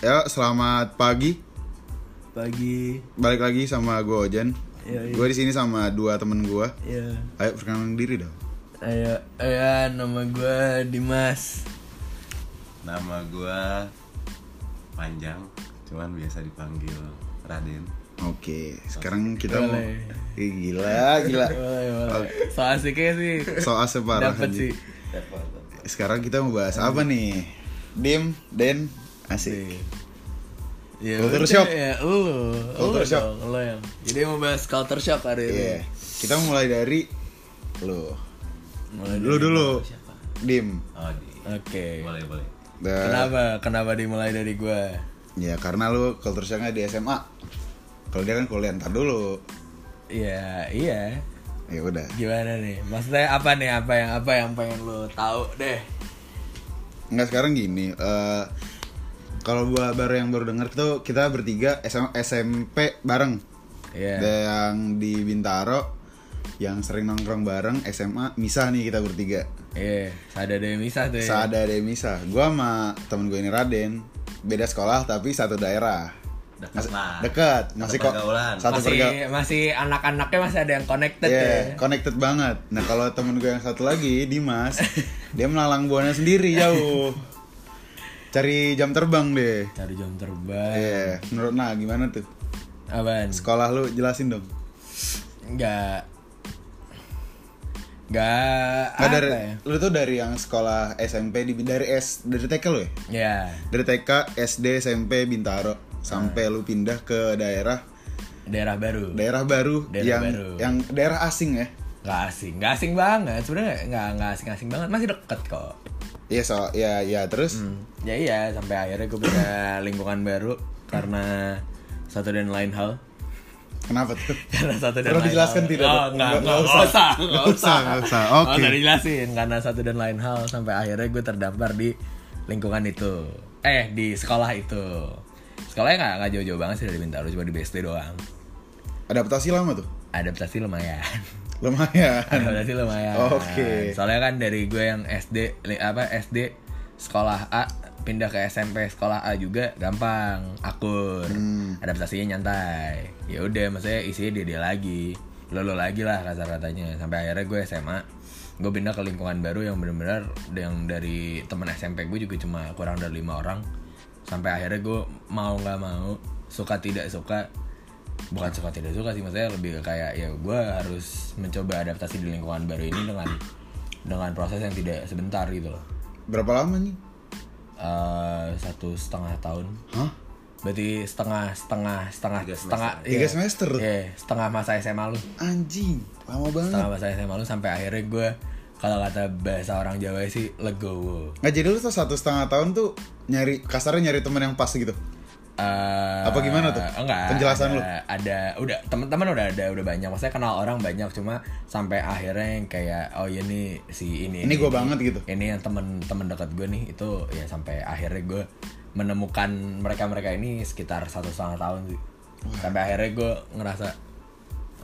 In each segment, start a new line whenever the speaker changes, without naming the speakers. Ya, selamat pagi.
Pagi.
Balik lagi sama gue Ojan.
Ya,
Gue di sini sama dua temen gue.
Ya.
Ayo perkenalkan diri dong.
Ayo, ayo nama gue Dimas.
Nama gua panjang, cuman biasa dipanggil Raden.
Oke, sekarang kita mau
Boleh.
Ih, gila, gila.
Boleh, boleh. So asiknya sih.
Soal separah
Dapat sih.
anjing. Sekarang kita mau bahas apa nih? Dim, Den, asik.
Ya,
Culture
udah,
shock.
Ya, lu.
Culture
Culture
shock.
shock. Lo yang. Jadi mau bahas culture shock hari ini.
Iya. Kita mulai dari lo.
Mulai
Lo
dari-
dulu. Eh.
Siapa?
Dim.
Oh, di.
Oke.
Boleh, boleh.
Da-
Kenapa? Kenapa dimulai dari gue?
Ya karena lu culture shocknya di SMA. Kalau dia kan kuliah ntar dulu.
Iya, iya.
Ya udah.
Gimana nih? Maksudnya apa nih? Apa yang apa yang pengen lo tahu deh?
Nggak sekarang gini. eh kalau gua baru yang baru denger tuh kita bertiga SM, SMP bareng.
Iya.
Ada yang di Bintaro yang sering nongkrong bareng SMA misah nih kita bertiga.
Iya, ada demisah
Iya.
tuh. ya.
Seada ada yang misah. Gua sama temen gue ini Raden beda sekolah tapi satu daerah.
Deket lah.
Dekat, masih
Satu
kok
pergaulan.
satu
masih
perga-
masih anak-anaknya masih ada yang connected
Yeah,
ya.
connected banget. Nah kalau temen gue yang satu lagi, Dimas, dia melalang buahnya sendiri jauh. Cari jam terbang deh.
Cari jam terbang.
Iya, menurut nah gimana tuh?
Apaan?
Sekolah lu jelasin dong.
Enggak. Enggak
Nggak
apa
dari,
ya?
lu tuh dari yang sekolah SMP di dari S dari TK lu ya?
Ya.
Dari TK, SD, SMP, Bintaro sampai lu pindah ke daerah
Daerah baru.
daerah baru
Daerah
yang
baru.
yang daerah asing ya.
Enggak asing, enggak asing banget. Sebenarnya enggak enggak asing-asing banget, masih deket kok.
Iya so, ya ya terus
Hmm. Ya iya, sampai akhirnya gue punya lingkungan baru karena satu dan lain hal.
kenapa tuh?
Karena satu dan
Perlu
lain
dijelaskan
hal.
tidak,
Oh,
Dok?
enggak,
Nggak
enggak, usah.
Nggak
Enggak
usah,
usah, Oh,
nggak usah. Oke.
Nggak usah dijelasin karena satu dan lain hal sampai akhirnya gue terdampar di lingkungan itu. Eh, di sekolah itu. Sekolahnya nggak nggak jauh-jauh banget sih dari Bintaro, cuma di BSD doang.
Adaptasi lama tuh.
Adaptasi lumayan.
Lumayan.
Adaptasi lumayan.
Oke.
Soalnya kan dari gue yang SD li- apa SD sekolah A pindah ke SMP sekolah A juga gampang akur
Hmm.
adaptasinya nyantai ya udah maksudnya isinya dia dia lagi lo lo lagi lah kasar katanya sampai akhirnya gue SMA gue pindah ke lingkungan baru yang bener-bener yang dari temen SMP gue juga cuma kurang dari lima orang sampai akhirnya gue mau nggak mau suka tidak suka bukan suka tidak suka sih maksudnya lebih ke kayak ya gue harus mencoba adaptasi di lingkungan baru ini dengan dengan proses yang tidak sebentar gitu loh
Berapa lama nih?
Eh, satu setengah tahun
Hah?
berarti setengah setengah setengah
Tiga semester.
setengah
Tiga
iya.
semester?
Iya, setengah masa SMA lu
Anjing, lama banget.
setengah masa SMA lu sampai akhirnya gue kalau kata bahasa orang Jawa sih legowo
Nggak jadi lu tuh satu setengah tahun tuh nyari kasarnya nyari teman yang pas gitu.
Eh,
Apa gimana tuh?
Enggak.
Penjelasan
ada,
lu.
Ada udah teman-teman udah ada udah banyak. Maksudnya kenal orang banyak cuma sampai akhirnya yang kayak oh ya nih si ini.
Ini gue banget gitu.
Ini yang temen-temen dekat gue nih itu ya sampai akhirnya gue menemukan mereka-mereka ini sekitar satu setengah tahun sih. Sampai akhirnya gue ngerasa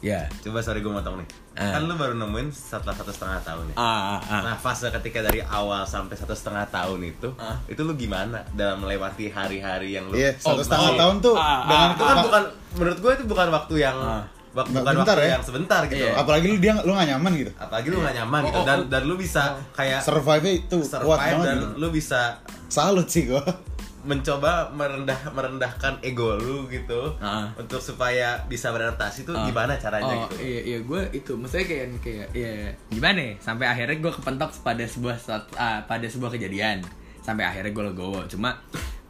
ya
Coba sorry gua motong nih.
Ah.
Kan lu baru nemuin setelah satu setengah tahun ya.
ah ah, ah.
Nah fase ketika dari awal sampai satu setengah tahun itu,
Ah.
itu lu gimana dalam melewati hari-hari yang lu?
Iya, satu
Oh,
setengah
oh,
tahun tuh
ah, ah,
dengan
Itu kan bukan, menurut gue itu bukan waktu yang,
Ah.
wak-
Nggak
bukan
bentar
waktu
ya?
yang sebentar gitu.
Iya.
Ap-
apalagi lu dia lu gak nyaman gitu.
Apalagi lu gak nyaman gitu
oh,
dan dan lu bisa kayak
Survive itu kuat
survive
banget
dan
gitu.
lu bisa
Salut sih gua.
mencoba merendah merendahkan ego lu gitu
Ah.
untuk supaya bisa beradaptasi tuh
Ah.
gimana caranya
Oh
gitu
iya iya gue itu maksudnya kayak kayak iya iya. gimana ya sampai akhirnya gue kepentok pada sebuah saat- ah, pada sebuah kejadian sampai akhirnya gue legowo cuma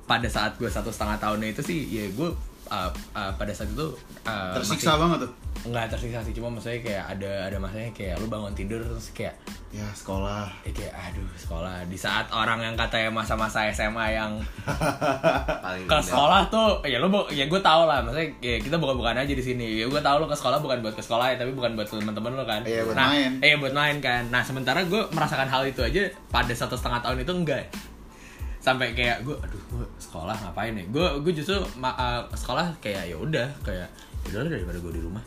pada saat gue satu setengah tahunnya itu sih ya gue ah, ah, pada saat itu ah,
Tersiksa
masih-
banget tuh.
nggak tersiksa sih cuma maksudnya kayak ada ada masanya kayak lu bangun tidur terus kayak
Ya sekolah.
ya kayak aduh sekolah di saat orang yang katanya masa-masa SMA yang
paling
ke
Iya.
sekolah tuh ya lu bu- ya gue tau lah maksudnya ya kita buka-bukaan aja di sini ya gue tau lu ke sekolah bukan buat ke sekolah ya tapi bukan buat teman-teman lu kan
Iya, buat
nah,
main.
iya buat main kan nah sementara gue merasakan hal itu aja pada satu setengah tahun itu enggak sampai kayak gue aduh gue sekolah ngapain ya gue gue justru ma- uh, sekolah kayak ya udah kayak ya udah lah daripada gue di rumah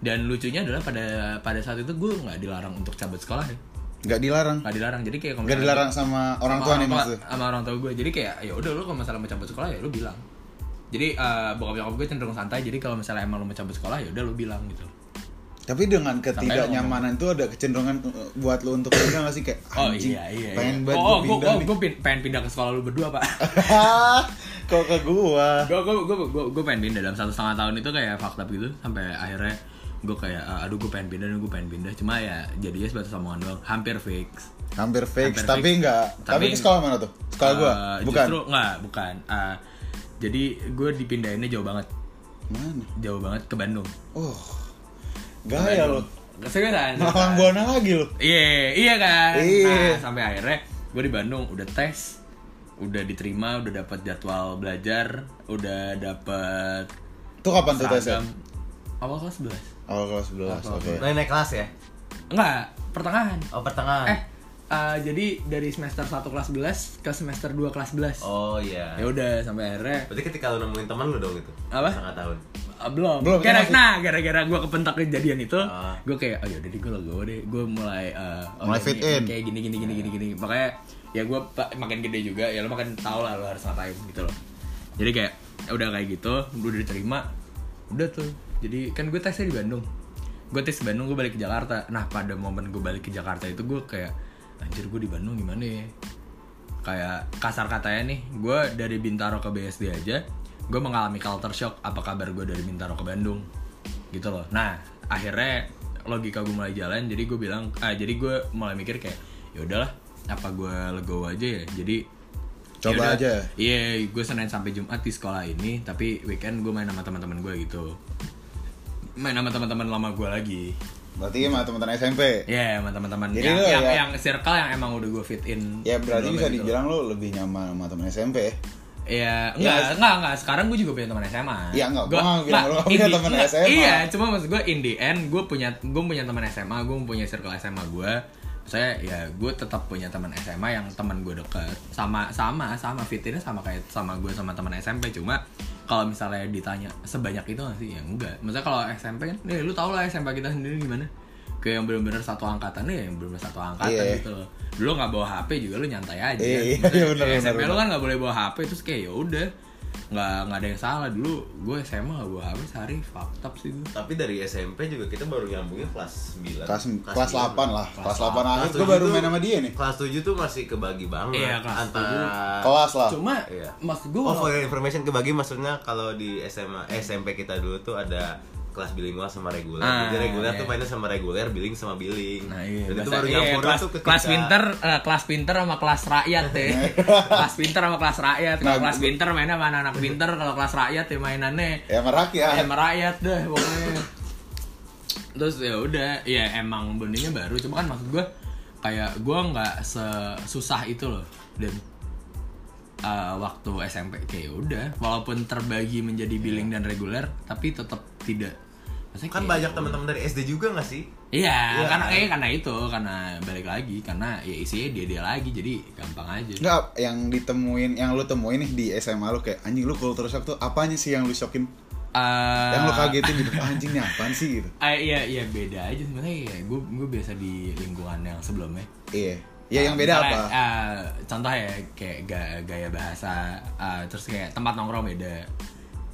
dan lucunya adalah pada pada saat itu gue nggak dilarang untuk cabut sekolah ya
nggak dilarang
nggak dilarang jadi kayak kalau
nggak
misalnya-
dilarang sama orang tua nih maksud
sama orang tua gue jadi kayak ya udah lu kalau misalnya mau cabut sekolah ya lu bilang jadi eh bokap nyokap gue cenderung santai jadi kalau misalnya emang lu mau cabut sekolah ya udah lu bilang gitu
tapi dengan ketidaknyamanan itu ada kecenderungan uh, buat lu untuk pindah nggak sih kayak
oh
anjing,
iya iya, iya.
pengen banget
oh,
gua
oh, gue
pindah
oh,
nih.
gue pin- pengen pindah ke sekolah lu berdua pak
Hah, kok ke gua
gue gue gue gue gue pengen pindah dalam satu setengah tahun itu kayak fucked up gitu sampai akhirnya gue kayak "Ah, aduh gue pengen pindah gue pengen pindah cuma ya jadinya sebatas omongan doang hampir fix
hampir fix
Hampir
tapi
fix.
nggak tapi
Tapi-
ke sekolah mana tuh sekolah gua
Eh,
bukan
justru nggak bukan Eh, jadi gue dipindahinnya jauh banget
mana
jauh banget ke Bandung
oh gaya lo
Kesegaran.
malang buana lagi lo
Iya, iya kan.
Iya.
Nah, sampai akhirnya gue di Bandung udah tes, udah diterima, udah dapat jadwal belajar, udah dapat
tuh kapan tuh tesnya
seragam. Awal kelas
awal Oh, kelas 11 oke
Lo naik kelas ya?
11. Enggak, pertengahan.
Oh pertengahan.
Eh, eh, jadi dari semester 1 kelas 11 ke semester 2 kelas 11.
Oh iya.
Ya udah sampai akhirnya
Berarti ketika lu nemuin teman lu dong itu.
Apa?
Setengah tahun.
Ah, belum.
Belum,
Gara-
kan masih-
nah, gara-gara gue kepentak kejadian itu,
Ah.
gue kayak, oh yaudah deh gue legowo deh. Gue mulai eh, oh,
Mulai
ini-
fit
ini
in.
Kayak gini gini gini gini gini. Makanya ya gue makin gede juga, ya lo makin tau lah lo harus ngapain gitu loh. Jadi kayak ya udah kayak gitu, udah diterima, udah tuh. Jadi kan gue tesnya di Bandung. Gue tes di Bandung, gue balik ke Jakarta. Nah pada momen gue balik ke Jakarta itu gue kayak, anjir gue di Bandung gimana ya? kayak kasar katanya nih gue dari Bintaro ke BSD aja gue mengalami culture shock apa kabar gue dari Bintaro ke Bandung gitu loh nah akhirnya logika gue mulai jalan jadi gue bilang ah jadi gue mulai mikir kayak ya udahlah apa gue legowo aja ya jadi
Coba
yaudah.
aja.
iya gue senin sampai jumat di sekolah ini tapi weekend gue main sama teman-teman gue gitu main sama teman-teman lama gue lagi
berarti emah teman-teman SMP
ya sama teman-teman
Jadi
yang,
lu
yang,
ya-
yang circle yang emang udah gue fit in
ya berarti
sebelumnya
bisa
gitu loh.
dibilang lo lebih nyaman sama teman SMP ya
Iya, enggak, enggak, enggak. Sekarang gue juga punya teman SMA.
Iya, enggak, gua nggak bilang lu punya
in the-
teman
enggak,
SMA.
Iya, cuma maksud gue in the end gue punya gue punya teman SMA, gue punya circle SMA gue. Saya ya gue tetap punya teman SMA yang teman gue deket sama sama sama fitinnya sama kayak sama gue sama teman SMP cuma kalau misalnya ditanya sebanyak itu nggak sih ya enggak maksudnya kalau SMP kan nih lu tau lah SMP kita sendiri gimana kayak yang bener-bener satu angkatan ya yang bener-bener satu angkatan
Iya.
gitu loh lu nggak bawa HP juga lu nyantai aja
Iya, iya,
Maksudnya
iya, bener, bener,
SMP lu
bener.
kan nggak boleh bawa HP terus kayak ya udah nggak nggak ada yang salah dulu gue SMA nggak bawa HP sehari fucked up sih gue
Tapi dari SMP juga kita baru nyambungnya kelas 9.
kelas kelas 8 lah kelas 8 akhir
Kelas
gue
tujuh
baru
tuh-
main sama dia nih
Kelas 7 tuh masih kebagi banget
Iya, kelas
antara
kelas lah
cuma
Iya.
mas gue
Oh, for your information kebagi maksudnya kalau di SMA eh, SMP kita dulu tuh ada kelas bilingual sama reguler.
Ah,
Jadi reguler
iya.
tuh mainnya sama reguler, biling sama biling.
Nah, iya,
Dan itu
bahasa-
baru
iya,
nyampur
kelas,
tuh ketika-
kelas pinter, eh, kelas pinter sama kelas rakyat ya. kelas pinter sama kelas rakyat. Kalau
Nah,
kelas
gua-
pinter mainnya sama anak-anak pinter, kalau kelas rakyat ya mainannya
ya
ya
merakyat
sama rakyat deh pokoknya. Terus ya udah, ya emang bondingnya baru, cuma kan maksud gue kayak gue nggak sesusah itu loh dan eh, waktu SMP kayak ya udah walaupun terbagi menjadi billing dan reguler tapi tetap tidak Maksudnya
Kan
kayak-
banyak teman-teman dari SD juga gak sih?
Iya,
Iya.
karena kayaknya karena itu, karena balik lagi, karena ya isinya dia dia lagi, jadi gampang aja.
Enggak, yang ditemuin, yang lu temuin nih di SMA lu kayak anjing lu culture shock tuh apanya sih yang lu shockin?
Eh,
Yang lu kagetin gitu, anjing nih apaan sih gitu.
eh, iya iya beda aja sebenarnya. Ya, gue gue biasa di lingkungan yang sebelumnya.
Iya. Ya yang beda
Misalnya,
apa?
eh, contoh ya kayak ga- gaya bahasa, eh, terus kayak tempat nongkrong beda.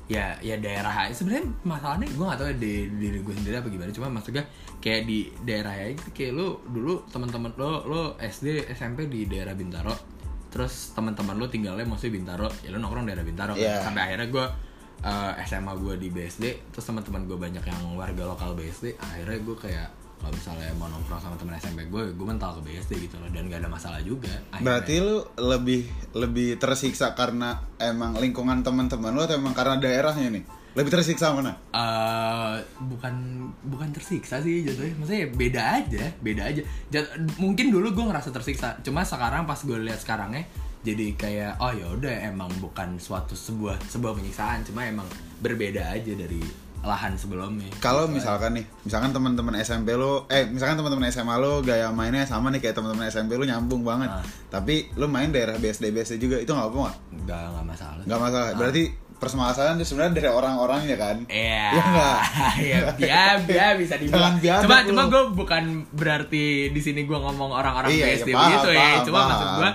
Ya ya daerah aja. Sebenarnya masalahnya gue gak tahu ya di diri gue sendiri apa gimana. Cuma maksudnya kayak di daerah aja gitu, kayak lu dulu teman-teman lo lo SD SMP di daerah Bintaro. Terus teman-teman lo tinggalnya mostly Bintaro. Ya lu nongkrong daerah Bintaro. kan.
Iya.
Sampai akhirnya eh, gue SMA gue di BSD terus teman-teman gue banyak yang warga lokal BSD akhirnya gue kayak kalau misalnya mau nongkrong sama teman SMP gue gue mental ke BSD gitu loh dan gak ada masalah juga akhirnya.
Berarti lu lebih lebih tersiksa karena emang lingkungan teman-teman lu atau emang karena daerahnya nih? Lebih tersiksa mana?
Eh, bukan bukan tersiksa sih jatuhnya maksudnya beda aja beda aja Jat- mungkin dulu gue ngerasa tersiksa cuma sekarang pas gue lihat sekarangnya jadi kayak oh ya udah emang bukan suatu sebuah sebuah penyiksaan cuma emang berbeda aja dari lahan sebelumnya
Kalau misalkan nih, misalkan teman-teman SMP lu, eh misalkan teman-teman SMA lu gaya mainnya sama nih kayak teman-teman SMP lu nyambung
Ah.
banget. Tapi lu main daerah BSD BSD juga itu nggak apa-apa nggak?
nggak nggak masalah Ah.
Nggak masalah. Berarti permasalahan itu sebenarnya dari orang-orangnya kan.
Iya.
Iya nggak?
Iya, ya, ya, bisa dibilang.
Jangan biadab
Cuma cuma
lu.
gue bukan berarti di sini gue ngomong orang-orang
Iya,
PSD
iya, paham,
gitu ya.
paham,
cuma
paham.
maksud gue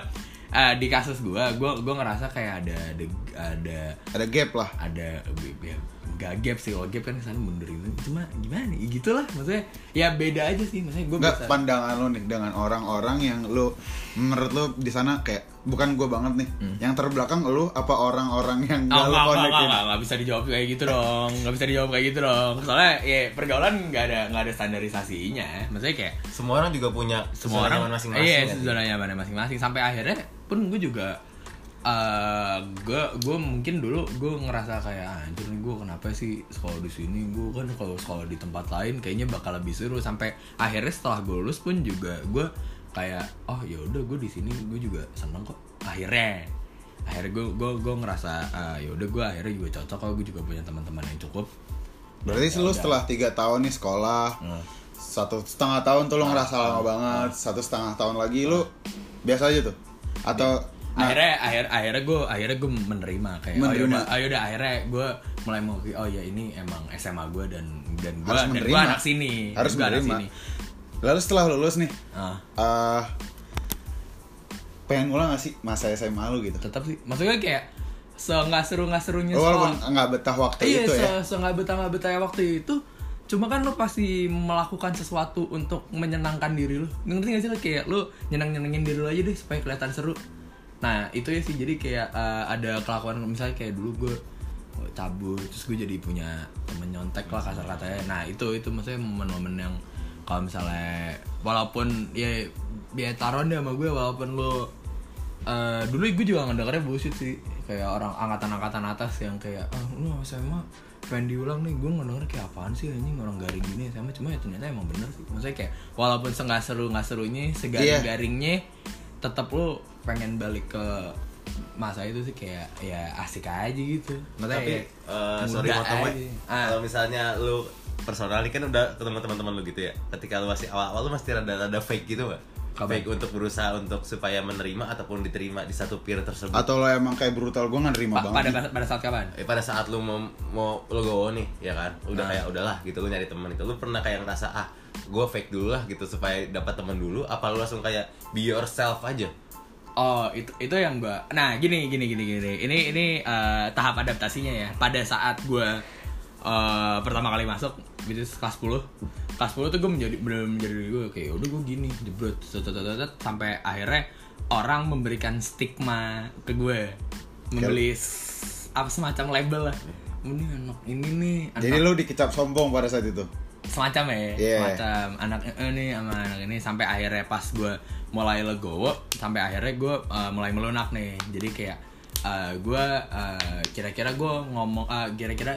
eh, di kasus gue, gue gue ngerasa kayak ada deg- ada
Ada gap lah.
ada ya, gak gap sih kalau gap kan kesana mundurin cuma gimana ya gitulah maksudnya ya beda aja sih maksudnya gue
Enggak pandangan lu nih dengan orang-orang yang lu menurut lu di sana kayak bukan gue banget nih. Yang terbelakang lu apa orang-orang yang
Hmm.
gak
Oh,
lu
nggak, nggak, nggak,
konekin?
nggak, nggak bisa dijawab kayak gitu dong Nggak bisa dijawab kayak gitu dong Soalnya ya pergaulan nggak ada nggak ada standarisasinya Maksudnya kayak
Semua orang juga punya
semua
zona
orang
nyaman masing-masing.
Iya,
kan?
zona nyamannya masing-masing Sampai akhirnya pun gue juga eh gue gue mungkin dulu gue ngerasa kayak "Ah, anjir nih gue kenapa sih sekolah di sini gue kan kalau sekolah di tempat lain kayaknya bakal lebih seru sampai akhirnya setelah gue lulus pun juga gue kayak oh ya udah gue di sini gue juga seneng kok akhirnya akhirnya gue gue gue ngerasa ah, ya udah gue akhirnya juga cocok kok gue juga punya teman-teman yang cukup
Berarti lu
Iya.
setelah tiga tahun nih sekolah, satu setengah tahun tuh lu ngerasa lama banget,
Iya.
satu setengah tahun lagi lu biasa aja tuh, atau
akhirnya akhir akhirnya gue akhirnya gue menerima kayak
Nah, Menerima.
oh yaudah, oh yaudah akhirnya gue mulai mau oh ya ini emang SMA gue dan dan gue
Harus
dan gue
menerima.
anak sini
harus
gue anak
menerima.
sini
Lalu setelah lulus nih,
Ah,
eh pengen ngulang gak sih masa SMA lu gitu?
tetap sih maksudnya kayak se nggak seru nggak serunya
Lu
sekolah
walaupun nggak betah waktu
iya
itu
se,
ya,
se nggak betah nggak betah waktu itu cuma kan lo pasti melakukan sesuatu untuk menyenangkan diri lo ngerti gak sih lo kayak lo nyenang nyenengin diri lo aja deh supaya kelihatan seru nah itu ya sih jadi kayak eh, ada kelakuan misalnya kayak dulu gue cabut terus gue jadi punya temen nyontek lah kasar katanya nah itu itu maksudnya momen-momen yang kalau misalnya walaupun ya biar taruh deh sama gue walaupun lo Eh, dulu gue juga ngedengarnya bullshit sih kayak orang angkatan-angkatan atas yang kayak ah lu SMA pengen diulang nih gue ngedenger kayak apaan sih anjing orang garing gini sama cuma ya ternyata emang bener sih maksudnya kayak walaupun se nggak seru nggak serunya
Iya.
segaring-garingnya tetap lu pengen balik ke masa itu sih kayak ya asik aja gitu Maksudnya
Tapi
ya,
eh, sorry
muda
potong Wak.
aja. Ah.
Kalau misalnya lu personal nih kan udah ketemu teman-teman lu gitu ya. Ketika lu masih awal-awal lu masih rada-rada fake gitu nggak?
Apa?
Fake untuk berusaha untuk supaya menerima ataupun diterima di satu peer tersebut.
atau lo emang kayak brutal gue nggak nerima
Pa- pada
banget. nih.
pada saat kapan
Eh, pada saat lu mau mau logo nih ya kan udah kayak udahlah gitu lu nyari teman itu lu pernah kayak ngerasa ah gue fake dulu lah gitu supaya dapat teman dulu apa lu langsung kayak be yourself aja
Oh, itu itu yang gua. Nah, gini gini gini gini. Ini ini eh, tahap adaptasinya ya. Pada saat gua eh, pertama kali masuk which is kelas 10. Kelas 10 tuh gua menjadi bener menjadi diri gua kayak udah gua gini, jebrot Tut, tut, tut, tut, tut. sampai akhirnya orang memberikan stigma ke gue. Membeli s- apa semacam label lah. Ini anak ini nih, anak
Jadi lu dikecap sombong pada saat itu.
semacam ya
Iya.
semacam anak eh, ini sama anak ini sampai akhirnya pas gue mulai legowo sampai akhirnya gue eh, mulai melunak nih jadi kayak eh, gue eh, kira-kira gue ngomong eh, kira-kira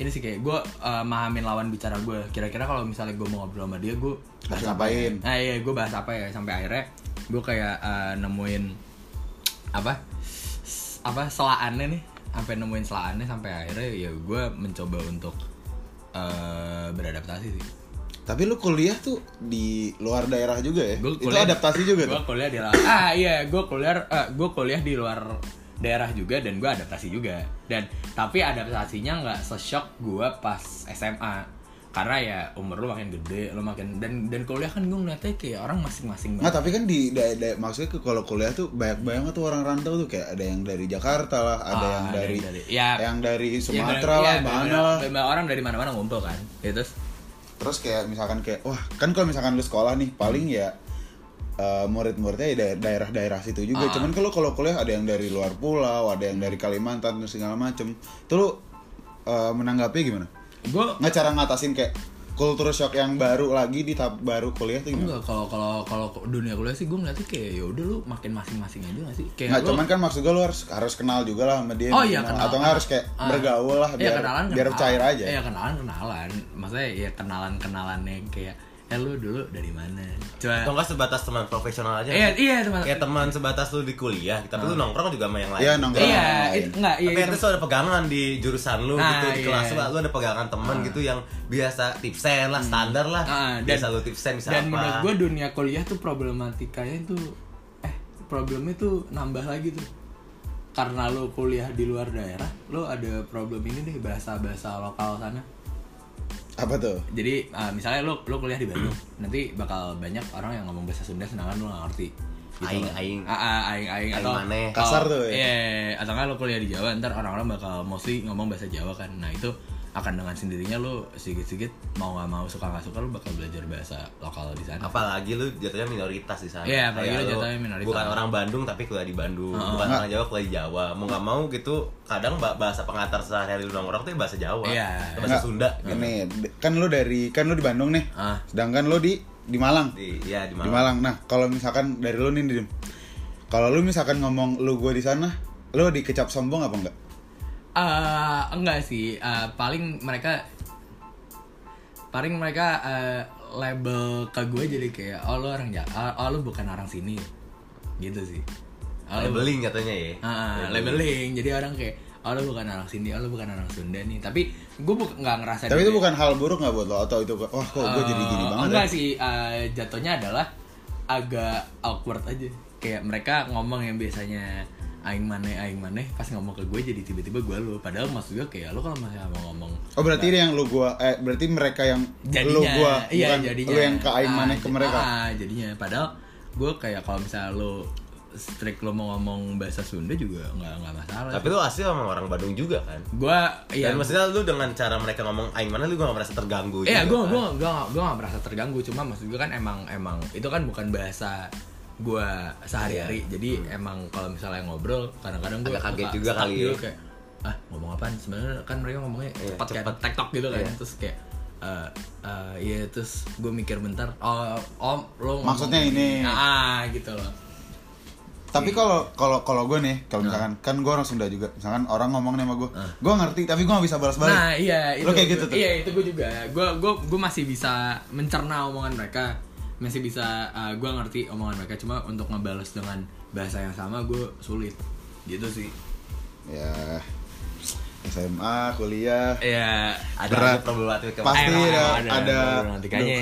ini sih kayak gue eh, mahamin lawan bicara gue kira-kira kalau misalnya gue mau ngobrol sama dia gue
Harus ngapain?
nah iya gue bahas apa ya sampai akhirnya gue kayak eh, nemuin apa s- apa selaannya nih sampai nemuin selaannya sampai akhirnya ya gue mencoba untuk eh, beradaptasi sih
Tapi lu kuliah tuh di luar daerah juga ya?
Gua
itu
kuliah-
adaptasi juga tuh.
Gue kuliah di luar. Ah iya, gue kuliah eh, gua kuliah di luar daerah juga dan gue adaptasi juga. Dan tapi adaptasinya nggak seshock gue pas SMA. Karena ya umur lu makin gede, lu makin dan dan kuliah kan gue ngeliatnya kayak orang masing-masing
Nggak,
banget.
tapi kan di da- da- maksudnya ke kalau kuliah tuh banyak banget tuh orang rantau tuh kayak ada yang dari Jakarta lah, ada
Ah,
yang
ada
dari,
yang dari- ya.
yang dari
Ya,
Sumatera
bener-
lah,
ya,
mana
bener-
lah.
bener- orang dari mana-mana ngumpul kan. Ya, terus
Terus kayak misalkan kayak wah, kan kalau misalkan lu sekolah nih paling ya eh, murid-muridnya ya da- daerah-daerah situ
Ah.
juga. Cuman kalau kalau kuliah ada yang dari luar pulau, ada yang dari Kalimantan dan segala macem. Tuh lu eh, menanggapi gimana?
gue
Nggak cara ngatasin kayak kultur shock yang baru lagi di tahap baru kuliah tuh gimana?
enggak kalau kalau kalau dunia kuliah sih gue ngeliatnya kayak ya udah lu makin masing-masing aja gak sih? Kayak
Nggak,
Iya, lu-
cuman kan maksud gue lu harus harus kenal juga lah sama dia.
Oh iya,
Kenal.
kenal.
Atau nggak harus kayak
Ah.
bergaul lah
Iya,
biar
kenalan,
biar
kenalan.
cair aja.
Iya kenalan kenalan. Maksudnya ya kenalan kenalannya kayak eh lu dulu dari mana?
atau
Coba
enggak sebatas teman profesional aja
Iya Ah. iya teman.
kayak teman sebatas lu di kuliah tapi lu nongkrong juga sama yang lain
Iya, nongkrong.
Iya,
Nah,
itu enggak iya.
tapi
itu-
at least lu ada pegangan di jurusan lu
Nah,
gitu di
iya.
kelas lu, lu ada pegangan teman gitu yang biasa tipsen lah standar lah
Ah, dan-
biasa lu tipsen bisa
Dan
apa
menurut gue dunia kuliah tuh problematikanya tuh eh problemnya tuh nambah lagi tuh. karena lu kuliah di luar daerah lu ada problem ini deh bahasa bahasa lokal sana
apa tuh
jadi ah, misalnya lu lu kuliah di Bandung nanti bakal banyak orang yang ngomong bahasa Sunda sedangkan lu nggak ngerti
Aing,
loh.
aing.
Ah, ah, aing aing
Aing
atau
maneh.
atau-
Kasar tuh ya.
iya iya. atau nggak lu kuliah di Jawa ntar orang-orang bakal mostly ngomong bahasa Jawa kan nah itu akan dengan sendirinya lu sedikit-sedikit mau nggak mau suka nggak suka lu bakal belajar bahasa lokal di sana
apalagi lu jatuhnya minoritas di sana.
Iya, apalagi
Kayak
lu jatuhnya minoritas.
Bukan orang Bandung tapi kuliah di Bandung, bukan
Nggak.
orang Jawa kuliah di Jawa. Mau nggak mau gitu, kadang ba- bahasa pengantar sehari-hari lu nongkrong tuh ya bahasa Jawa,
Iya.
Atau bahasa
Nggak,
Sunda. Gitu.
Nih, d- kan lu dari kan lu di Bandung nih.
Ah.
Sedangkan lu di di Malang.
Di, ya di
Di
Malang.
Malang. Nah, kalau misalkan dari lu nih, Dim. Kalau lu misalkan ngomong lu gua di sana, lu dikecap sombong apa enggak?
Eh, enggak sih, Eh, paling mereka paling mereka eh, label ke gue jadi kayak oh lu orang ja oh, oh, lu bukan orang sini. Gitu sih. Oh, lu-
Labeling katanya ya.
Ah,
Iya.
labeling. Jadi orang kayak oh lu bukan orang sini, oh lu bukan orang Sunda nih. Tapi gue bu- nggak ngerasa
Tapi itu
diri-
bukan hal buruk nggak buat lo atau itu wah kok gue jadi gini
Eh,
banget.
Enggak
ya?
sih, eh, jatuhnya adalah agak awkward aja. Kayak mereka ngomong yang biasanya aing maneh aing maneh pas ngomong ke gue jadi tiba-tiba gue lu padahal maksud gue kayak lu kalau masih mau ngomong
Oh berarti ini yang lu gua eh berarti mereka yang
jadinya
lu gua
iya
bukan
jadinya
lu yang ke aing maneh ke
j-
mereka.
ah, jadinya padahal gue kayak kalau misalnya lu strict lu mau ngomong bahasa Sunda juga nggak nggak masalah
Tapi lu asli sama orang Bandung juga kan?
gue iya
Dan maksudnya lu dengan cara mereka ngomong aing mana lu gak merasa terganggu
Iya,
juga,
gue
kan?
gue gue gue gak merasa terganggu, cuma maksud gue kan emang emang itu kan bukan bahasa gue sehari-hari, jadi emang kalau misalnya ngobrol kadang-kadang gue
Iya. Hmm. Agak kaget juga kali ya.
kayak ah ngomong apaan sebenarnya kan mereka ngomongnya
Iya,
cepat
cepet.
kan tektok gitu kan
Iya.
terus kayak eh eh, iya terus gue mikir bentar oh om lo ngomong
Maksudnya ini.
ah, ah, gitu loh
Tapi kalau kalau kalau gue nih kalau misalkan kan gue orang Sunda juga. Misalkan orang ngomong nih sama gue, gue ngerti tapi gue gak bisa balas-balik.
Nah iya itu
Lo kayak gitu
gua-
tuh?
Iya itu gue juga Gue gua, gua masih bisa mencerna omongan mereka Masih bisa uh, Gue ngerti omongan mereka Cuma untuk ngebales dengan bahasa yang sama Gue sulit Gitu sih
Ya SMA, kuliah,
Iya
ada
Berat.
aja problematik
Pas- Pasti
emang
ada-
emang
ada-
problematikanya.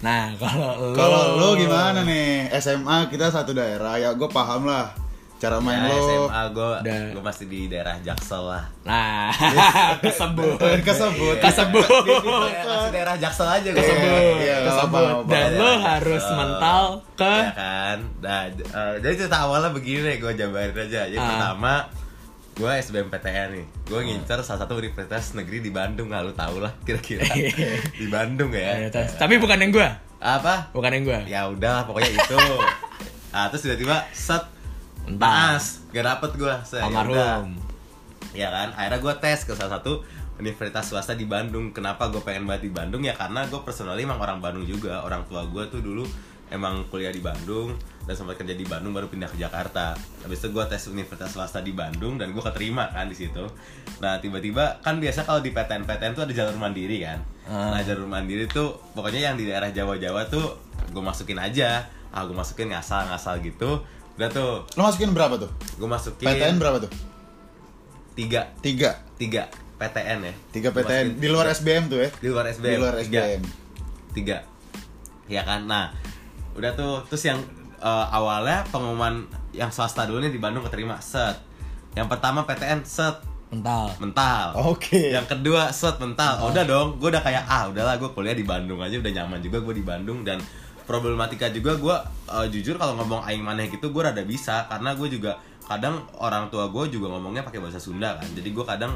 Nah kalau lo
Kalau lo gimana nih? SMA kita satu daerah ya gue paham lah cara main
Ya,
lo.
SMA gue
Udah.
gue pasti di daerah Jaksel lah.
Nah kesebut
Iya. Kesebut.
Kesebut
Masih daerah Jaksel aja gue.
Kesebut. Iya,
Kesebut
apa-apa.
Dan lo harus
Jaksel.
mental ke
ya kan. Nah, j- eh, jadi cerita awalnya begini deh gue jabarin aja. Jadi
Ah.
pertama gue SBMPTN nih. Gue ngincer salah satu universitas negeri di Bandung lah lu tau lah kira-kira. di Bandung
Iya.
ya.
Tapi bukan yang gue
Apa?
Bukan yang gue
ya udah pokoknya itu nah, terus tiba-tiba set
Entah.
naas gak dapet gue saya
Almarhum
ya kan akhirnya gue tes ke salah satu universitas swasta di Bandung kenapa gue pengen banget di Bandung ya karena gue personally emang orang Bandung juga orang tua gue tuh dulu emang kuliah di Bandung dan sempat kerja di Bandung baru pindah ke Jakarta habis itu gue tes universitas swasta di Bandung dan gue keterima kan di situ nah tiba-tiba kan biasa kalau di PTN-PTN tuh ada jalur mandiri kan
Ah.
nah jalur mandiri tuh pokoknya yang di daerah Jawa-Jawa tuh gue masukin aja ah gue masukin ngasal-ngasal gitu udah tuh
Lo masukin berapa tuh?
gue masukin
PTN berapa tuh?
tiga
Tiga.
tiga PTN ya
Tiga
Gua
PTN
masukin
di luar SBM tuh ya?
di luar SBM
Di luar
tiga.
SBM.
tiga ya kan nah udah tuh terus yang eh, awalnya pengumuman yang swasta dulu nih di Bandung keterima set yang pertama PTN set
Mental
mental
Oke.
yang kedua set mental Oh, udah dong gue udah kayak ah udahlah gue kuliah di Bandung aja udah nyaman juga gue di Bandung dan problematika juga gue eh, jujur kalau ngomong aing maneh gitu gue rada bisa karena gue juga kadang orang tua gue juga ngomongnya pakai bahasa Sunda kan jadi gue kadang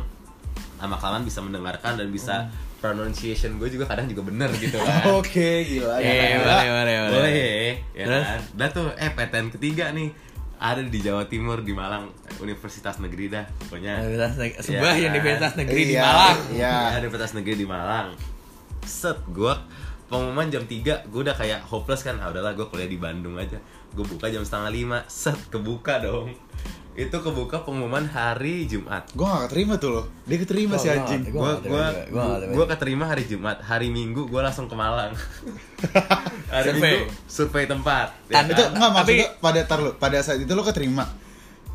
lama kelamaan bisa mendengarkan dan
Hmm.
bisa pronunciation gue juga kadang juga bener gitu kan
Oke, gila. gila,
Iya, iya,
gila.
boleh, boleh, boleh.
boleh ya
Terus?
kan udah tuh eh PTN ketiga nih ada di Jawa Timur di Malang Universitas Negeri dah pokoknya
Universitas neg- sebuah
Iya.
universitas negeri di
Iya,
Malang.
Iya.
Ya, Universitas Negeri di Malang. Set gua pengumuman jam 3 gua udah kayak hopeless kan. Ah udahlah gua kuliah di Bandung aja. Gua buka jam setengah lima Set kebuka dong. Itu kebuka pengumuman hari Jumat.
Gue gak keterima tuh lo. Dia keterima
Gua
si
nggak
anjing.
keterima.
Gua
nggak
gua
terima juga. Gua
gua,
nggak terima.
gua keterima hari Jumat. Hari Minggu gua langsung ke Malang. hari
Survei.
Minggu survei tempat. Ya
Kan, Nah,
Tan-
kan?
Itu
Tapi-
nggak maksud gua, pada tar lo, pada saat itu lo keterima.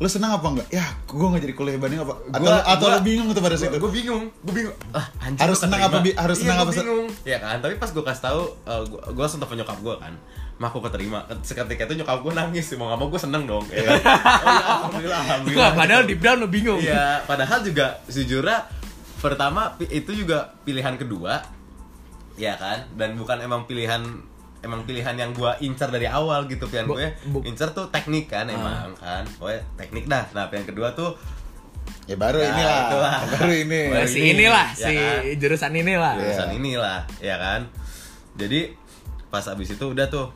Lo senang apa enggak? Ya, gue gak jadi kuliah banding apa? Atau
Gua-
atau
gua-
lo bingung tuh pada saat itu?
Gue bingung, gue bingung. Ah, anjir,
Harus
gua
senang
keterima.
apa bi- harus
Iya,
senang
gua eh,
apa se-
bingung. Ya kan, tapi pas gue kasih tahu, gue langsung telepon nyokap gue kan. mah aku keterima seketika itu nyokap gue nangis mau nggak mau gue seneng dong ya. kan? oh, ya, alhamdulillah alhamdulillah
Nggak, padahal deep down lo bingung.
Iya, padahal juga sejujurnya pertama pi- itu juga pilihan kedua, ya kan? Dan bukan emang pilihan emang pilihan yang gua incer dari awal gitu pilihan
Bu-
gue
bu-
incer tuh teknik kan
Ah.
emang kan pokoknya teknik dah nah pilihan kedua tuh
ya baru
Nah,
inilah
itulah.
baru ini
Nah, si inilah, si jurusan
Iya.
inilah.
jurusan inilah ya kan jadi pas abis itu udah tuh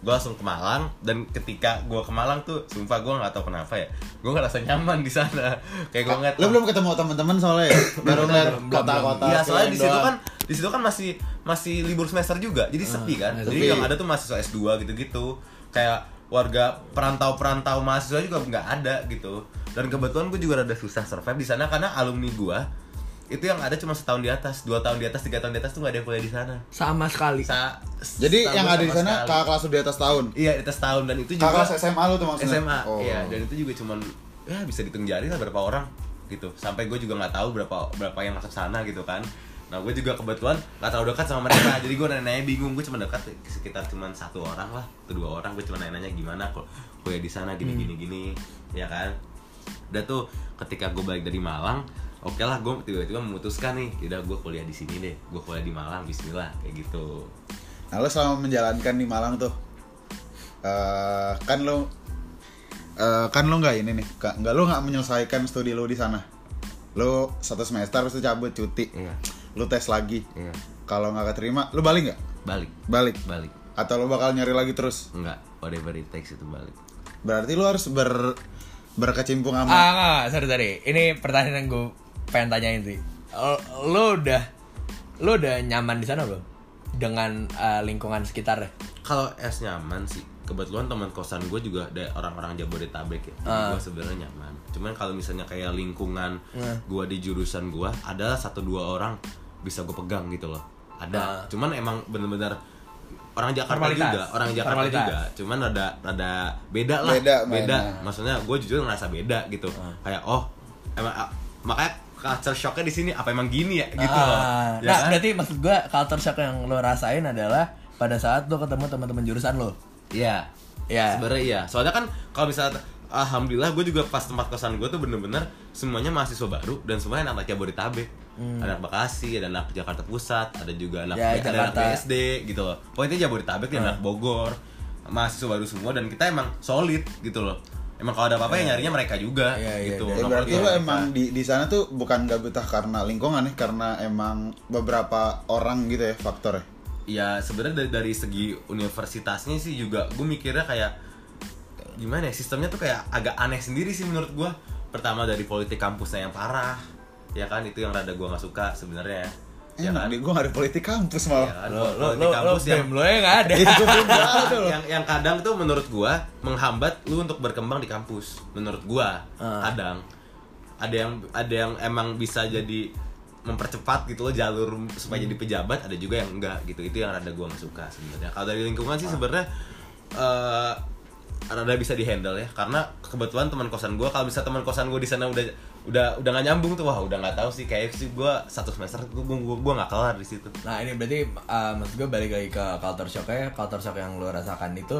gue langsung ke Malang dan ketika gua ke Malang tuh sumpah gua nggak tahu kenapa ya gue ngerasa nyaman di sana kayak gue ngeliat
lo Ah, belum ketemu teman-teman soalnya ya? baru ngeliat kota-kota
Iya, soalnya
keliling
di situ
doang. Ah,
kan di situ kan masih masih libur semester juga. Jadi sepi kan.
sepi.
Jadi yang ada tuh mahasiswa S2 gitu-gitu. Kayak warga perantau-perantau mahasiswa juga nggak ada gitu. Dan kebetulan gue juga rada susah survive di sana karena alumni gua itu yang ada cuma setahun di atas, dua tahun di atas, tiga tahun di atas tuh nggak ada yang kuliah di sana.
Sama sekali.
Sa-
jadi
setahun
yang ada di
sama
sana
sekali.
kakak kelas lu di atas tahun
iya di atas tahun dan itu
kakak
juga
kelas SMA lu tuh maksudnya
SMA
oh.
iya dan itu juga cuman ya bisa dihitung jari lah berapa orang gitu sampai gue juga nggak tahu berapa berapa yang masuk sana gitu kan nah gue juga kebetulan nggak terlalu dekat sama mereka jadi gue nanya-nanya bingung gue cuma dekat sekitar cuman satu orang lah atau dua orang gue cuma nanya-nanya gimana kok kuliah di sana gini
Hmm.
gini gini ya kan udah tuh ketika gue balik dari Malang oke lah gue tiba-tiba memutuskan nih tidak gue kuliah di sini deh gue kuliah di Malang Bismillah kayak gitu
nah lo selama menjalankan di Malang tuh eh, kan lo eh, kan lo nggak ini nih nggak nggak- lo nggak menyelesaikan studi lo di sana lo satu semester terus lo cabut cuti
Iya.
lo tes lagi
Iya.
kalau nggak keterima lo balik nggak
balik
balik
balik
atau lo bakal nyari lagi terus
enggak whatever it takes itu balik
berarti lo harus ber berkecimpung
Ah,
sama
enggak, enggak, sorry, sorry. Ini pertanyaan yang gue pengen tanyain sih. L- Lo udah lo udah nyaman di sana belum? Dengan eh, lingkungan sekitarnya.
kalau es nyaman sih kebetulan teman kosan gue juga ada orang-orang jabodetabek ya Jadi gue sebenarnya nyaman cuman kalau misalnya kayak lingkungan gue di jurusan gue adalah satu dua orang bisa gue pegang gitu loh ada cuman emang bener-bener orang Jakarta
Formalitas.
juga orang Jakarta
Formalitas.
juga cuman rada rada beda lah
Beda
beda
mainnya.
maksudnya gue jujur ngerasa beda gitu kayak oh emang ah, makanya culture shocknya di sini apa emang gini ya gitu loh
Ah,
Ya
nah,
kan?
berarti maksud gue culture shock yang lo rasain adalah pada saat lo ketemu teman-teman jurusan lo.
Iya.
Iya.
Sebenarnya iya. Soalnya kan kalau misalnya alhamdulillah gue juga pas tempat kosan gue tuh bener-bener semuanya mahasiswa baru dan semuanya anak Jabodetabek. Ada anak Bekasi, ada anak Jakarta Pusat, ada juga anak
Hmm. Ya,
ada anak
Jakarta. Hmm.
BSD gitu loh. Pokoknya Jabodetabek dan anak Bogor. Mahasiswa baru semua dan kita emang solid gitu loh. Emang kalau ada apa-apa ya nyarinya mereka juga
Iya, iya,
gitu.
Ya,
iya.
Nongkrong
berarti
juga
lo
mereka.
emang di di sana tuh bukan gak betah karena lingkungan ya, karena emang beberapa orang gitu ya faktornya.
ya sebenarnya dari dari segi universitasnya sih juga gue mikirnya kayak gimana ya sistemnya tuh kayak agak aneh sendiri sih menurut gue pertama dari politik kampusnya yang parah ya kan itu yang rada gue nggak suka sebenarnya
Iya.
ya
Enak
kan
di gue gak ada politik kampus
Ya
malah.
kan?
Lo lo
Politik
lo lo
kampus yang
BEM lo ya nggak ada.
Itu gue gak ada loh.
yang yang kadang tuh menurut gua menghambat lu untuk berkembang di kampus menurut gua
Ah.
kadang ada yang ada yang emang bisa jadi mempercepat gitu loh jalur supaya jadi pejabat ada juga yang enggak gitu itu yang rada gua nggak suka sebenarnya kalau dari lingkungan sih sebenarnya eh rada bisa dihandle ya karena kebetulan teman kosan gua kalau bisa teman kosan gua di sana udah udah udah nggak nyambung tuh wah udah nggak tahu sih kayak sih gua satu semester gua gua gua nggak kelar di situ
Nah ini berarti uh, maksud gue balik lagi ke culture shocknya ya. Culture shock yang lo rasakan itu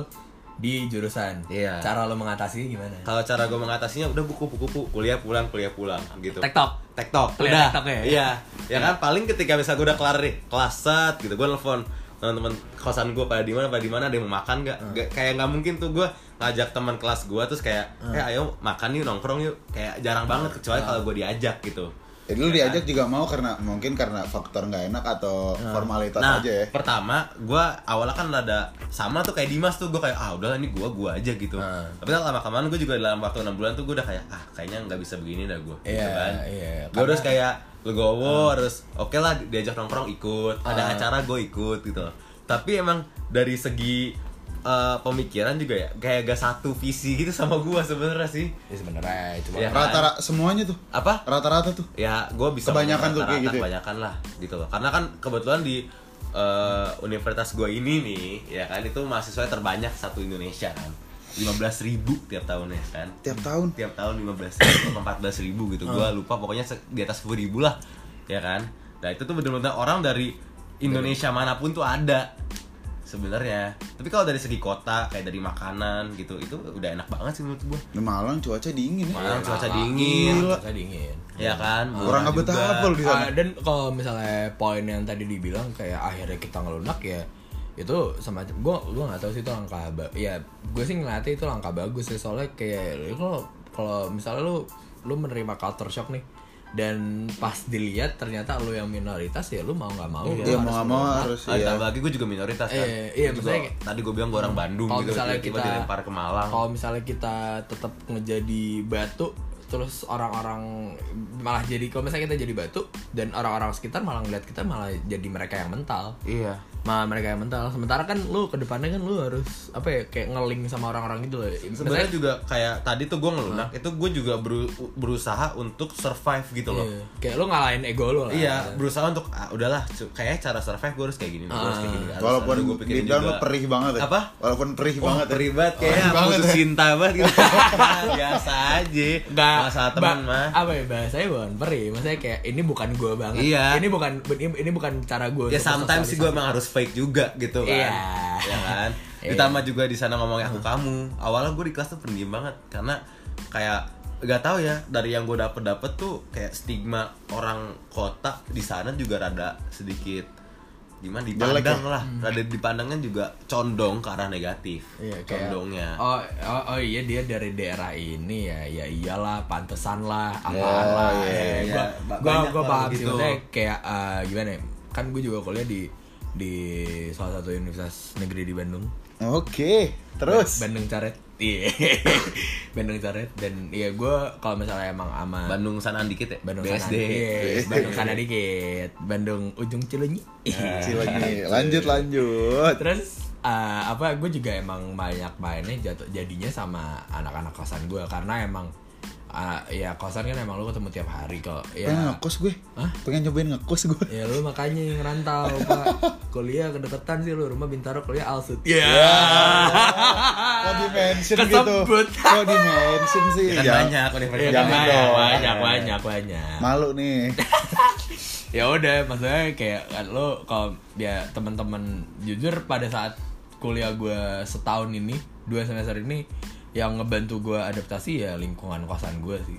di jurusan
Iya.
Cara lo mengatasi gimana?
kalau cara gue mengatasinya udah buku-buku kuliah pulang kuliah pulang gitu
Tektok.
tektok
Kuliah
udah
tektok ya?
iya ya kan paling ketika misalnya gue udah kelar nih kelas set gitu gue nelfon teman-teman kosan gue pada di mana pada di mana ada yang mau makan gak,
Hmm.
kayak nggak mungkin tuh gue ngajak teman kelas gue terus kayak
Hmm.
eh ayo makan yuk nongkrong yuk kayak jarang banget kecuali kalau gue diajak gitu
Jadi Eh, lu diajak juga mau karena mungkin karena faktor nggak enak atau formalitas
nah
aja ya.
pertama gue awalnya kan rada sama tuh kayak Dimas tuh gue kayak ah udahlah ini gue gue aja gitu
Ah.
tapi lama kelamaan gue juga dalam waktu enam bulan tuh gue udah kayak ah kayaknya nggak bisa begini dah gue
Iya,
gitu kan
iya.
gue harus kayak legowo harus oke lah diajak nongkrong ikut ada acara gue ikut gitu tapi emang dari segi eh, pemikiran juga ya kayak gak satu visi gitu sama gue sebenarnya sih
Ya sebenernya cuma
Iya.
Rata-rata semuanya tuh.
apa
Rata-rata tuh.
ya gue bisa
Kebanyakan tuh kayak
rata-rata
gitu ya?
kebanyakan lah gitu loh karena kan kebetulan di eh, universitas gue ini nih ya kan itu mahasiswa terbanyak satu Indonesia kan 15.000 ribu tiap tahunnya kan
Tiap tahun.
tiap tahun 15 ribu 14 ribu gitu gue
Hmm.
lupa pokoknya se- di atas 10 ribu lah ya kan nah itu tuh bener-bener orang dari Indonesia manapun tuh ada sebenarnya tapi kalau dari segi kota kayak dari makanan gitu itu udah enak banget sih menurut gue
Di Malang cuaca dingin ya.
Malang Iya, cuaca dingin
Gila.
Iya, Cuaca dingin.
Iya.
ya kan
Kurang
murah juga.
kabetapel di sana. Ya,
Ah, dan kalau misalnya poin yang tadi dibilang kayak akhirnya kita ngelunak ya itu semacam gue gue nggak tahu sih itu langkah ba- ya gue sih ngeliatnya itu langkah bagus sih soalnya kayak lu- kalau kalau misalnya lu lu menerima culture shock nih dan pas dilihat ternyata lu yang minoritas ya lu mau nggak mau lu
Iya mau nggak mau
ngelunak.
harus
Ah,
ya.
Tambah lagi gue juga minoritas kan.
Iya, iya,
Gua
maksudnya Hmm.
juga- tadi gue bilang gue orang Bandung
kalau
gitu,
misalnya
tiba-tiba
kita
dilempar ke Malang.
kalau misalnya kita tetap ngejadi batu terus orang-orang malah jadi kalau misalnya kita jadi batu dan orang-orang sekitar malah ngeliat kita malah jadi mereka yang mental
Iya.
malah mereka yang mental sementara kan lu ke depannya kan lu harus apa ya kayak ngeling sama orang-orang gitu loh
Sebenarnya
Misalnya-
juga kayak tadi tuh gue ngelunak,
Hmm.
itu gue juga beru- berusaha untuk survive gitu loh.
Iya. kayak lu ngalahin ego lu lah
Iya, berusaha untuk ah, udahlah, cu- kayak cara survive gue harus kayak gini, nih, gua harus kayak
Ah.
gini. harus-
Walaupun
harus
gue
gua pikirin
lo
juga.
perih banget ya.
Apa? Oh,
Walaupun perih banget ya.
Oh.
Terlibat kayak
banget
putus cinta banget gitu. Biasa aja.
Nggak,
masalah
ba-
teman mah.
apa ya bahasanya bukan peri maksudnya kayak ini bukan gua banget
Iya.
ini bukan ini, ini bukan cara gua
ya
untuk
sometimes sih gue
bersosialisasi.
emang harus fake juga gitu kan
Iya.
ya kan
Iya.
ditambah juga di sana ngomongnya aku kamu awalnya gue di kelas tuh pendiam banget karena kayak gak tahu ya dari yang gue dapet dapet tuh kayak stigma orang kota di sana juga rada sedikit gimana
Jelek
dipandang
ya?
lah rada dipandangnya juga condong ke arah negatif
Hmm. Iya, kayak,
condongnya
Oh, oh, oh iya dia dari daerah ini ya. Ya iyalah, pantesan lah, apa
Oh,
lah.
iya,
Eh,
iya.
Gua gua
Ba- banyak
gua
orang
paham sih
gitu.
maksudnya kayak eh, gimana ya? Kan gue juga kuliah di di salah satu universitas negeri di Bandung.
Oke, terus.
Ba- Bandung Caret. Iya. Bandung Caret dan ya gua kalau misalnya emang ama
Bandung sanaan dikit ya
Bandung
BSD
sana
Iya.
dikit, Bandung sana dikit, Bandung ujung Cileunyi.
Iya,
Kecil Nah, lagi. Lanjut lanjut.
terus eh, apa gue juga emang banyak mainnya jatuh jadinya sama anak-anak kosan gue karena emang eh, ya kosan kan emang lu ketemu tiap hari kok ya
Pengen ngekos gue.
Hah?
Pengen nyobain ngekos gue.
ya lu makanya yang rantau pak kuliah kedeketan sih lu rumah bintaro kuliah alsut ya
Kok di mention gitu?
Kesebut.
Kok di mention sih?
Iya.
Ya Ah, kan
Ya,
banyak universitas
Jangan
banyak,
dong.
banyak banyak banyak
Malu nih.
ya udah maksudnya kayak kan lo kalau ya teman-teman jujur pada saat kuliah gue setahun ini dua semester ini yang ngebantu gue adaptasi ya lingkungan kosan gue sih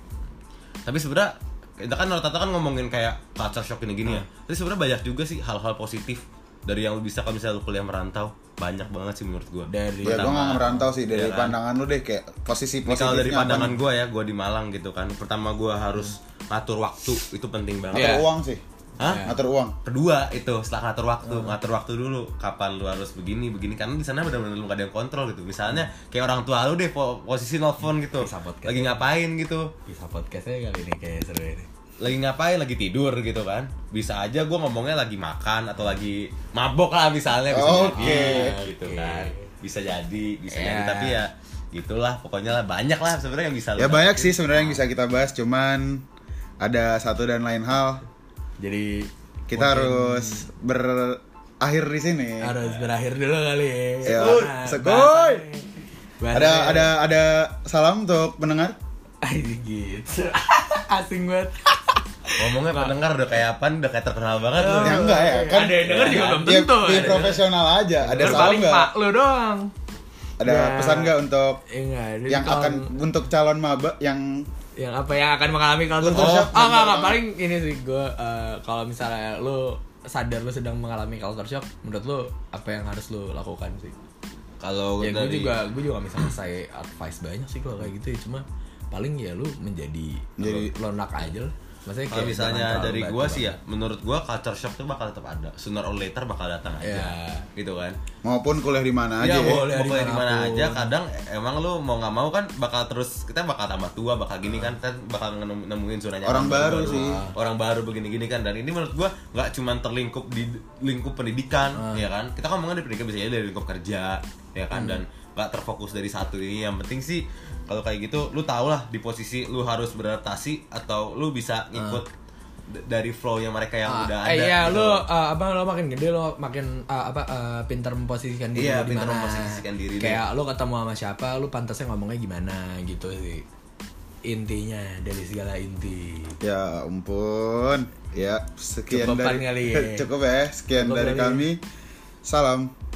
tapi sebenarnya kita kan Nortata kan ngomongin kayak culture shock ini gini ya tapi sebenarnya banyak juga sih hal-hal positif dari yang lu bisa kalau misalnya lu kuliah merantau banyak banget sih menurut gua
dari
Ya gue
Pertama,
gak merantau sih dari
Iya
ya kan?
pandangan lu deh kayak posisi
Ini kalau
positifnya
dari
apa
pandangan
nih?
gua ya gua di Malang gitu kan pertama gua harus ngatur waktu itu penting banget
Ngatur
Iya.
uang sih.
Hah?
Ngatur uang.
kedua itu setelah ngatur waktu ngatur waktu dulu kapan lu harus begini begini karena di sana benar-benar lu gak ada yang kontrol gitu misalnya kayak orang tua lu deh po- posisi nelfon gitu
Bisa podcast.
lagi ngapain gitu
bisa podcastnya kali ini kayak seru ini
lagi ngapain lagi tidur gitu kan bisa aja gue ngomongnya lagi makan atau lagi mabok lah misalnya bisa
Oh, Oke.
jadi gitu
Oke.
kan bisa jadi bisa
Ya.
jadi tapi ya gitulah pokoknya lah banyak lah sebenarnya yang bisa lu
Ya banyak
dapetin.
sih sebenarnya yang bisa kita bahas cuman ada satu dan lain hal
jadi
kita harus berakhir di sini.
harus berakhir dulu kali ya
Eh, Ya,
Nah,
sekoi.
bahasannya-
Ada
bahasannya-
ada ada salam untuk pendengar.
Anjing, gitu asing banget
ngomongnya pendengar udah kayak apa udah kayak terkenal banget lu
Ya enggak ya kan.
Oh. ada yang denger juga belum
Di,
tentu
di
ada yang
profesional aja. Ada
denger
salam
paling
nggak?
pak lo doang
Ada
Ya.
pesan nggak untuk
Ya, nggak, ada
yang
kalau-
akan untuk calon maba yang
yang apa yang akan mengalami kalau
Culture
oh,
shock.
ah, nggak, nggak. paling ini sih gue kalau misalnya lu sadar lu sedang mengalami culture shock menurut lu apa yang harus lu lakukan sih
kalau
ya gue
dari
juga gue juga nggak bisa ngasih advice banyak sih kalau kayak gitu ya cuma paling ya lu menjadi
Jadi-
lo lonak aja lah maksudnya
kalau
kayak
misalnya
jangan
dari
terlalu
gua
batu
sih ya menurut gua culture shock tuh bakal tetap ada sooner or later bakal datang aja
Iya.
gitu kan
maupun kuliah di mana
Iya,
aja. ya.
boleh.
mau kuliah di mana
dimanapun.
aja kadang emang lu mau nggak mau kan bakal terus kita bakal tambah tua bakal gini kan kita bakal ngenem- nemuin zona nyaman
Orang baru sih.
orang baru begini-gini kan dan ini menurut gua nggak cuman terlingkup di lingkup
Ah.
pendidikan ya kan kita ngomongin di pendidikan bisa jadi dari lingkup kerja ya kan
Hmm.
dan nggak terfokus dari satu ini yang penting sih kalau kayak gitu lu tau lah di posisi lu harus beradaptasi atau lu bisa ngikut d- dari flownya mereka yang
Ah,
udah ada
eh iya
gitu.
lu eh, apa lo makin gede lo makin eh, apa eh, pintar memposisikan diri lo
Iya,
di
pintar
mana.
memposisikan diri lo.
kayak lo ketemu sama siapa lo pantasnya ngomongnya gimana gitu sih intinya dari segala inti
Ya ampun. Ya, sekian
Cukupan
dari
kali ya.
Cukup ya, sekian
Cukup
dari
kali.
kami. Salam.